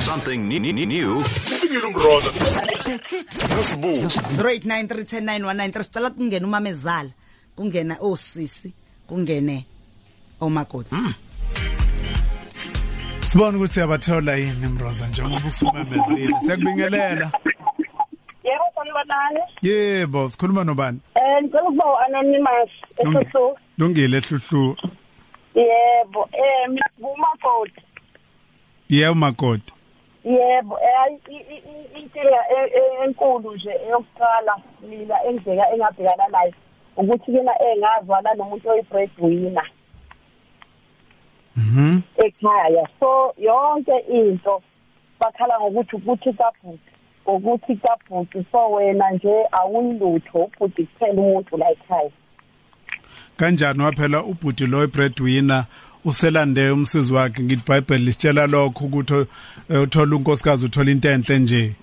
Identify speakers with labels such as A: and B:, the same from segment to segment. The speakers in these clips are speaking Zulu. A: Something new, new, new.
B: Fikile umroza. Nosibu.
C: 0893109193 sicela kungena umamezala kungena osisi kungene omakoti
D: Sibona ukuthi siyabathola yini Mroza njengoba usumemezile. Siyakubingelela.
E: Yebo sanibonani.
D: Yebo, sikhuluma nobani?
E: Eh ngicela ukuba uanonymous
D: Lungi-
E: esoso.
D: Lungile ehluhlu.
E: Yebo, eh mina ngumakoti.
D: Yebo makoti.
E: Yebo, eh hayi, i- i- i- inkinga e- e- enkulu nje eyokuqala mina endleka engabhekana nayo ukuthi kena engazwana nomuntu oyibreadwinner
D: Mhm.
E: ekhaya. So yonke into bakhala ngokuthi ukuthi kabhuti ngokuthi kabhuti so wena nje awulutho ubhuti kuphela umuntu la ekhaya.
D: Kanjani waphela ubhuti lo breadwinner uselande umsizi wakhe ngithi iBhayibheli lisitshela lokho ukuthi eh, uthola unkosikazi uthola into enhle nje.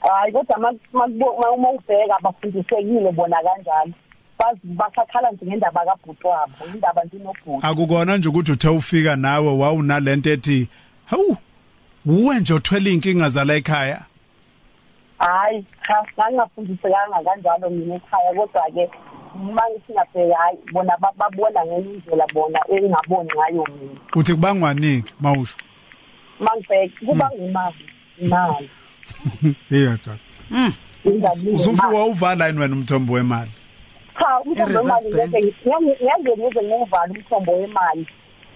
E: hayi kodwa Ah, ma- makubo- ma- uma ubheka bafundisekile bona kanjalo Bazi- basakhala nje ngendaba kabhuti wabo indaba nje nobhuti
D: Akukona nje ukuthi uthe ufika nawe wawunalento ethi hawu uwe nje othwele inkinga zala ekhaya.
E: hhayi cha ngangingafundisekanga kanjalo mina ekhaya kodwa-ke uma ngithi ngabheka hhayi bona ba- babona ngenye indlela bona engingaboni ngayo mina
D: Uthi kubangwaniki mawusho.
E: uma ngibheka kuba ngimali imali
D: Yeyodwa.
E: Indaba
D: Usufuwa
E: yimali.
D: uvala yini wena umthombo wemali?
E: cha umthombo
C: E-Reserve
E: wemali
C: Bank.
E: ngiyangenuze ngiwuvale umthombo wemali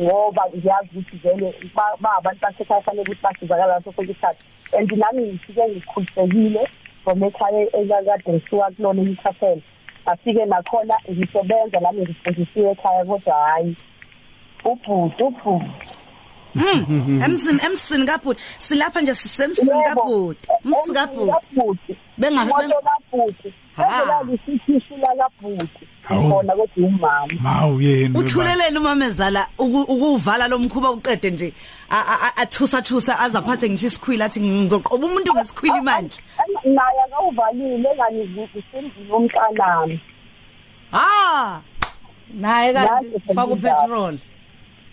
E: ngoba ngiyazi ukuthi vele ba- baabantu basekhaya fanele ukuthi basizakala ngaso sonke isikhathi and nami ngifike ngikhulisekile from ekhaya ekakade ngisuka kulona emthafela afike nakhona ngisebenza nami ngifundisiwe ekhaya kodwa hhayi ubhuti ubhuti
C: Mm, emsini emsini kabhuti silapha nje sisemsini kabhuti umsini kabhuti
E: kabhuti
C: Benga-
E: bengamoto kabhuti
C: Ha.
E: ezelanisithishula kabhuti
D: Hawu.
E: khona kodwa umama
D: Mawu yena.
C: uthulelele umamezala uku- ukuvala lo mkhuba uqede nje a- a- a- athusa thusa azaphathe ngisho isikhwili athi ngizoqoba umuntu ngesikhwili manje
E: naye akawuvalile enganivukisendlini omntanami
C: ha naye kanti
E: Yazi phela
C: faka
E: indaba.
C: upetrol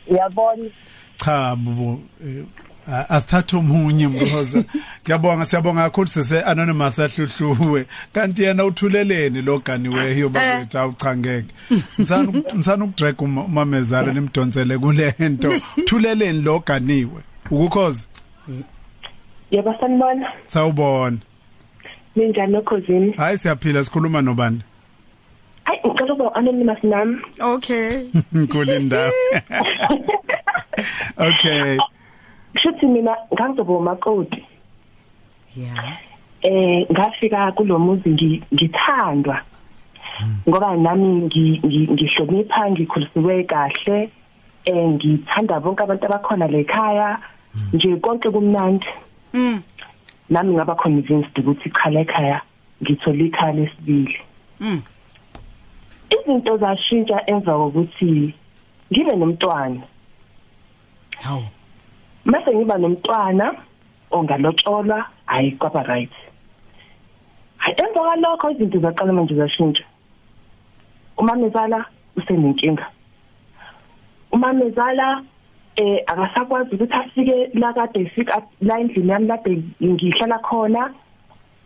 E: uyabona
D: cha bubu eh, a- asithathe omunye mroza ngiyabonga siyabonga kakhulu sise anonymous ahluhluwe kanti yena uthuleleni loganiweyo bazethu awuchangeke msana uk- msana ukudrag umamezala nimdonsele kulento uthuleleni loganiwe ukukhoze
F: Yebo sanibona.
D: sawubona
F: Ninjani nokhosini?
D: hayi siyaphila sikhuluma nobani
F: Ay, ngicela ukuba anonymous nami.
C: okay
D: inkulu indawo okay
F: Kushuthi mina ngangizoba umakoti.
C: yeah
F: Eh ngafika kulomuzi ngi- ngithandwa. Ngoba nami ngi- ngi- ngihlonipha ngikhulisiwe kahle. Eh ngithanda bonke abantu abakhona lekhaya. Nje konke kumnandi.
C: mm
F: Nami ngaba convinced ukuthi khala ekhaya ngithola ikhala lesibili.
C: mm
F: Izinto zashintsha emva kokuthi ngibe nomntwana.
C: hawo
F: mase ngiba nomntwana ongalotsholwa hayi kwaba right hayi emva kwalokho izinto zaqala manje zashintsha umamezala usenenkinga umamezala eh akasakwazi ukuthi afike la kade efika la endlini yami lapho ngihlala khona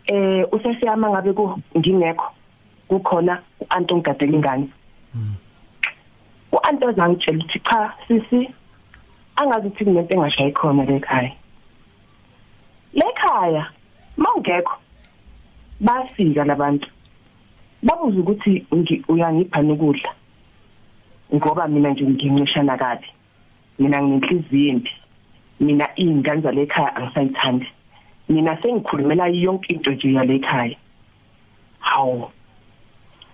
F: eh usesiyama ngabe ku ngingekho kukhona uanti ongigadela ingane uanti ozangitshela ukuthi cha sisi angazi ukuthi kunento engashayi khona lekhaya lekhaya mawungekho bafika labantu babuza ukuthi ngi- uyangiphani ukudla ngoba mina nje nginqishana kabi mina nginenhliziyo embi mina iy'ngane zalekhaya angisayithandi mina sengikhulumela yonke into nje yalekhaya hawu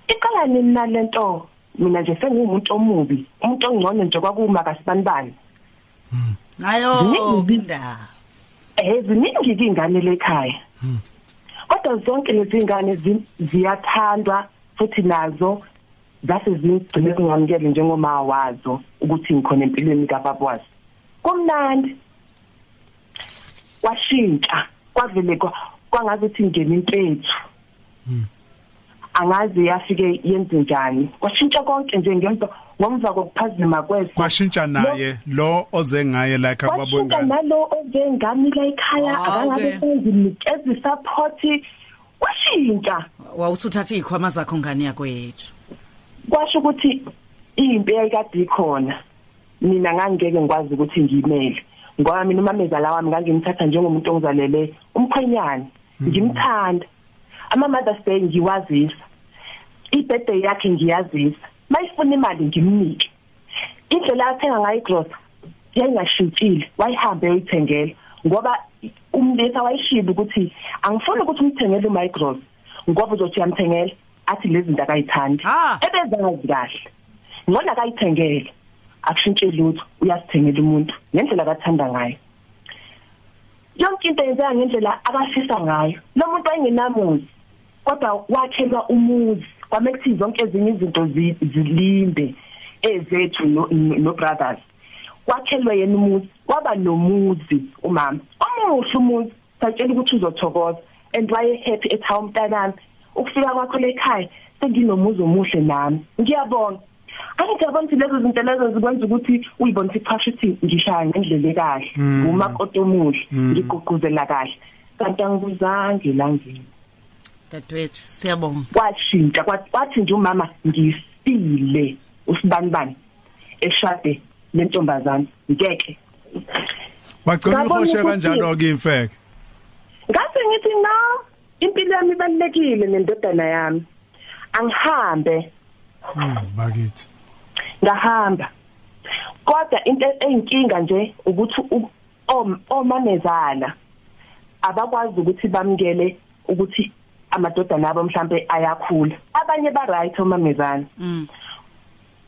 F: iqala nini nalento mina nje sengiwumuntu omubi umuntu ongcono nje kwakuma kasibanibani
C: ayo
F: Ziningi.
C: indaba
F: eh ziningi izingane lekhaya kodwa zonke lezi ngane zi- ziyathandwa futhi nazo zase zigcine zingamukele njengoma wazo ukuthi ngikhona empilweni kababwazi kumnandi washintsha kwavele kwa- kwangazuthi ngene impethu angazi yafike yenze njani kwashintsha konke nje ngemva ngomva kokuphazima kweso
D: kwashintsha naye lo oze ngaye like
F: kwashintsha
D: ababonga
F: nalo ojengami la ekhaya
C: Ah, okay.
F: akangabesenzi nikeza isaphothi kwashintsha
C: wawusuthatha iy'khwama zakho ngane yakho yethu
F: kwasho ukuthi impi eyayikade ikhona mina ngangeke ngikwazi ukuthi ngiyimele ngoba mina umamezala wami ngangimthatha njengomuntu ongizalele umkhwenyane ngimthanda ama-mothers day ngiwazisa i-birthday yakhe ngiyazisa uma ifuna imali ngimnike indlela athenga ngayo igrosa yayingashintshile wayihambe yoyithengela ngoba umlisa wayishile ukuthi angifuni ukuthi umthengele umicros ngoba uzothi uyamthengela athi lezi zinto akayithandi
C: Ah.
F: ebezazi kahle ngona akayithengele akushintshi lutho uyasithengela umuntu ngendlela akathanda ngayo yonke into yenzeka ngendlela akafisa ngayo lo muntu wayengenamuzi kodwa wakhelwa umuzi kwame kuthi zonke ezinye izinto zi- zilinde ezethu no- no- no-brothers wakhelwe yena umuzi waba nomuzi umama omuhle umuzi satshela ukuthi uzothokoza and waye-happy ethi hawu mntanami ukufika kwakho lekhaya senginomuzi omuhle nami ngiyabonga angijabona ukuthi lezo zinto lezo zikwenza ukuthi uyibone ukuthi phasha ukuthi ngishaya ngendlela ekahle ngumakoti omuhle ngigqugquzela kahle kanti angibuzange langeni
C: dadewethu siyabonga
F: kwashintsha kwa- kwathi nje umama ngifile usibanibani eshade lentombazane ngeke
D: wagcina
F: Ngabona
D: uhoshe
F: ukuthi-
D: kanjalo ke imfeke
F: ngase ngithi na impilo yami ibalulekile nendodana yami angihambe
D: Mm, bakithi
F: ngahamba kodwa into eyinkinga nje ukuthi u- om- omamezala abakwazi ukuthi bamkele ukuthi amadodana abo mhlambe ayakhula abanye ba right omamezana
C: Mm.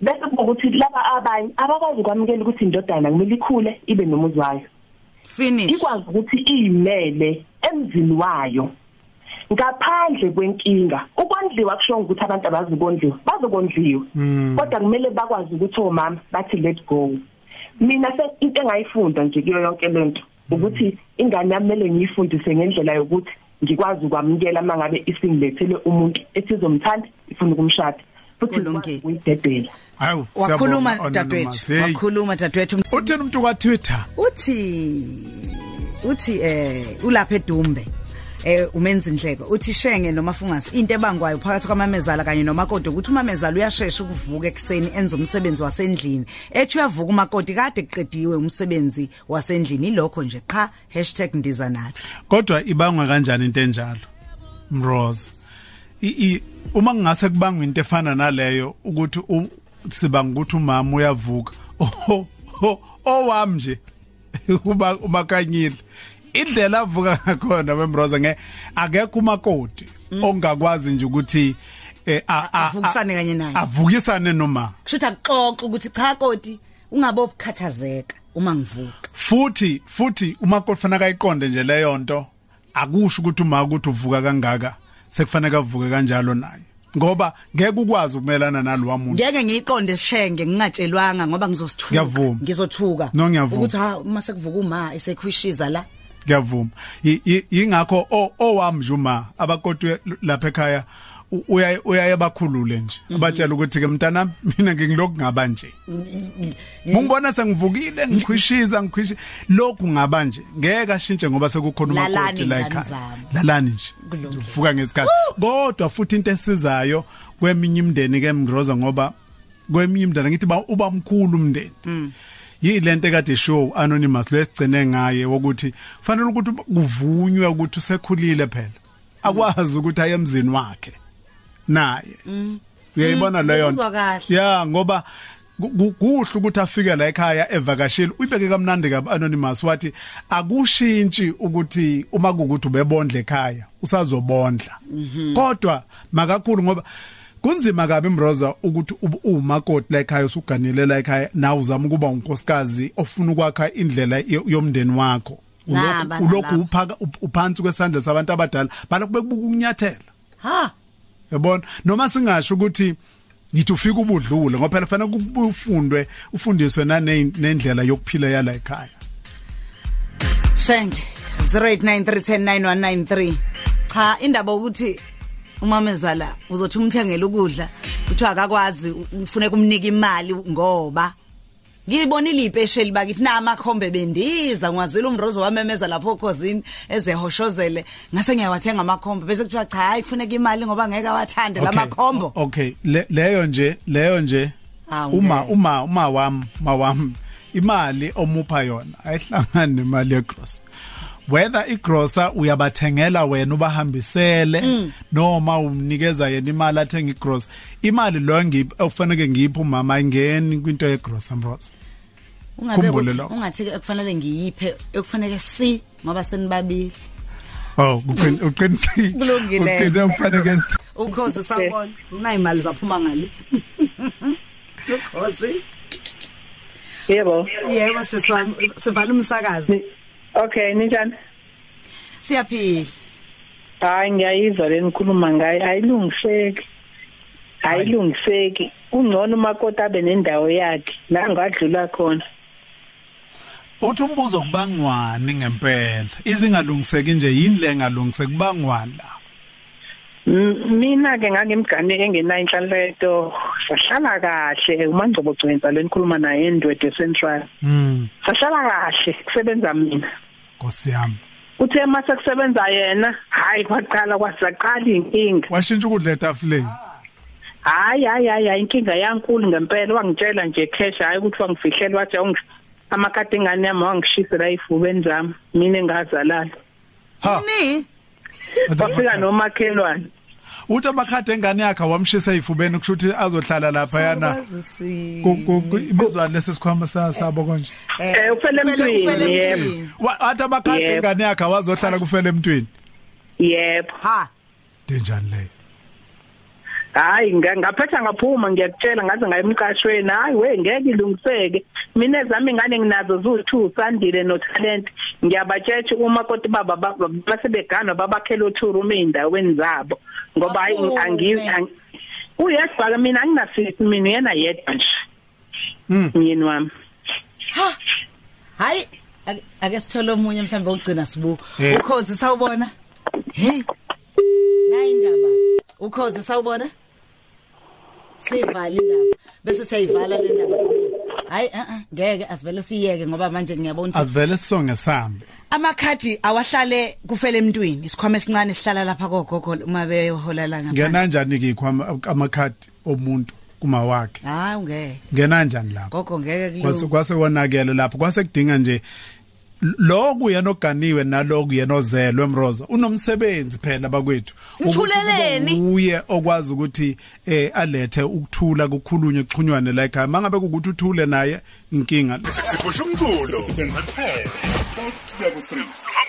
F: bese ukuthi laba abanye abakwazi ukwamukela ukuthi indodana kumele ikhule ibe nomuzi wayo
C: finish
F: ikwazi ukuthi iyimele emzini wayo ngaphandle kwenkinga ukondliwa kushonga ukuthi abantu abazikondliwa bazokondliwa
D: Mm.
F: kodwa kumele bakwazi ukuthi omama bathi let go mina se into engayifunda nje kuyo yonke lento ukuthi ingane yami mele ngiyifundise ngendlela yokuthi ngikwazi ukwamukela uma ngabe isingilethele umuntu esizomthanda ifuna ukumshada futhi
C: Kulungile.
F: ngikwazi ukuyidedela
D: hawu
C: wakhuluma
D: siyabonga,
C: dadewethu
D: Ononomasi. Hey,
C: wakhuluma dadewethu
D: uthini umuntu kwa Twitter
C: uthi uthi eh ulapha edumbe eh umenza indleko uthi shenge noma fungazi into ebangwayo phakathi kwamamezala kanye nomakoti ukuthi umamezala uyashesha ukuvuka ekseni enza umsebenzi wasendlini ethi uyavuka umakoti kade kuqediwe umsebenzi wasendlini lokho nje qha #ndizanathi
D: kodwa ibangwa kanjani into enjalo mroza I- i- uma kungase kubangwa into efana naleyo ukuthi u- sibanga ukuthi umama uyavuka oho ho owami nje uba umakanyile indlela avuka ngakhona wemroza nge akekho umakoti ongakwazi nje ukuthi eh, a- a- a-
C: Mm. Avukisane kanye naye.
D: avukisane noma
C: kushuthi akuxoxe ukuthi cha koti ungabokukhathazeka uma ngivuka
D: futhi futhi uma kufanele kayiqonde nje leyo nto akusho ukuthi uma ukuthi uvuka kangaka sekufanele avuke kanjalo naye ngoba ngeke ukwazi ukumelana nalowa muntu
C: ngeke ngiyiqonde shenge ngingatshelwanga ngoba ngizosithuka
D: Ngiyavuma.
C: ngizothuka
D: No, ngiyavuma.
C: ukuthi ha uma sekuvuka uma esekhwishiza la
D: ngiyavuma I- i- yingakho o- owami nje uma abakotwe lapha ekhaya u- uyaye uyaye bakhulule nje
C: Mm-hmm.
D: abatshela ukuthi ke mntanami mina ngingilokungaba nje Ngibona sengivukile ngikhwishiza ngikhwishi lokhu ngaba nje ngeke ashintshe ngoba sekukhona
C: Lalani
D: umakoti la
C: ngane
D: ekhaya
C: zami.
D: lalani nje
C: Kulungile.
D: uvuka ngesikhathi kodwa futhi into esizayo kweminye imndeni ke mgroza ngoba kweminye imndeni ngithi ba- uba mkhulu
C: Mm.
D: umndeni yilento ekade show anonymous lo esigcine ngaye wokuthi fanele ukuthi kuvunywe ukuthi usekhulile phela akwazi ukuthi aye emzini wakhe naye uyayibona leyo nto?
C: ngikuzwa Mm. kahle.
D: ya ngoba ku- ku- kuhle ukuthi afike la ekhaya evakashile uyibeke kamnandi kabi anonymous wathi akushintshi ukuthi uma kukuthi ubebondla ekhaya usazobondla kodwa makakhulu ngoba kunzima kabi mroza ukuthi ube umakoti la ekhaya usuganile la ekhaya nawe uzama ukuba unkosikazi ofuna ukwakha indlela yo- yomndeni wakho
C: Naba
D: Ulokhu- ulokhu
C: nalapha.
D: uphaka- up- uphansi kwesandla sabantu abadala balokhu bekubuka ukunyathela
C: ha
D: yabona noma singasho ukuthi ngithi ufika ubudlule ngoba phela fanele kubuye ufundwe ufundiswe nane- nendlela yokuphila yala ekhaya
C: Shenge 0893109193 cha indaba ukuthi umamezala uzothi umthengele ukudla kuthiwa akakwazi u- ufuneka umnike imali ngoba ngiyibonile ipesheli bakithi namakhombe bendiza ngiwazile umrozo wamemeza lapho okhozini ezehoshozele ngase ngiyawathenga amakhombe bese kuthiwa cha hayi kufuneka imali ngoba ngeke awathande la
D: Okay,
C: makhombo
D: o- Okay, le- leyo nje, leyo nje.
C: Hawu,
D: Uma
C: ngeke.
D: uma uma wami, mawami imali omupha yona ayihlangani nemali yegross. Whether igrocer uyabathengela wena ubahambisele noma umnikeza yena imali athenga igross. Imali lo ngiphi ofanele ngiphe umama ingeni kwinto yegross amrosa.
C: Ungabe
D: khumbule
C: ku-
D: lokho.
C: ungathi ke kufanele ngiyiphe ekufanele si ngoba senibabili
D: Oh, uqin- uqinisile.
C: Kulungile.
D: Uqinise ufanele ke
C: ukhozi sabona unayimali zaphuma ngale ukhozi
F: Yebo.
C: yebo sesiwami sivala umsakazi
F: Okay, ninjani?
C: siyaphila
F: Hayi ngiyayizwa lenikhuluma ngayo. Ayilungiseki. Ayilungiseki. Ungcono umakoti abe nendawo yakhe la ngadlula khona.
D: uthi umbuzo kubangwani ngempela izingalungiseki nje yini le ngalungiseki kubangwani la
F: M- Mina ke ngangimgane engenayo inhlanhla eto. Sahlala kahle uMangcobo Gcwenza lenikhuluma naye endwede Central.
D: mm
F: Sahlala kahle kusebenza mina.
D: nkosi yami
F: Uthe mase kusebenza yena, hayi kwaqala kwasaqala inkinga.
D: washintsha ukudla etafuleni
F: hayi hayi hayi hayi, inkinga yankulu ngempela wangitshela nje cash hayi ukuthi wangifihlele wathi awungi amakati engane yami wangishisela ifubeni zami mina engazalala
D: ha
C: ni
F: wafika nomakhelwane
D: uthi amakhadi engane yakhe wamshisa eyifubeni kusho ukuthi azohlala lapha yana
C: Sakwazisi.
D: ku- ku- ku- ibizwa lesi sikhwama sa- sabo konje
F: Eh, ufele emntwini, yebo.
C: emntwini.
D: Wa- wathi amakhadi
F: Yebo.
D: engane yakhe wazohlala kufela emntwini
F: yebo
C: ha
D: denjani leyo
F: hayi nga- ngaphetha ngaphuma ngiyakutshela ngaze ngaye emqashweni hayi we ngeke ilungiseke mina ezami ingane nginazo ziwu-two sandile notalente ngiyabatshetsha uma koti baba ba- ba- basebeganwa babakhele o-two room ey'ndaweni zabo ngoba hayi
C: Kakhulu,
F: angizi
C: man.
F: ang- uyedwa-ke mina anginasisi mina uyena yedwa nje
D: Mm.
F: myeni wami
C: ha hayi ake- ake sithole omunye mhlawumbe ogcina sibuko
D: Eh.
C: ukhozi sawubona hey nayi indaba ukhozi sawubona sivala indaba bese siyayivala le ndaba sibuko hayi a a ngeke asivele siyeke ngoba manje ngiyabona ukuthi
D: asivele sisonge sambe
C: amakhadi awahlale kufele emntwini isikhwama esincane sihlala lapha kogogo uma beyohola la
D: ngena
C: ngaphansi
D: njani ke ikhwama amakhadi omuntu kuma wakhe
C: hayi ngeke
D: ngena njani lapho
C: gogo ngeke
D: kwase
C: kulunge
D: kwase konakele lapho kwase kudinga nje lo kuyena oganiwe naloku yena ozelwe emroza unomsebenzi phela bakwethu Ukuthi kube
C: Uthuleleni.
D: nguye okwazi ukuthi eh alethe ukuthula kukhulunywe kuxhunywane la ekhaya mangabe ukuthi uthule naye inkinga le
B: sipusha umculo sengaphela 12 to 3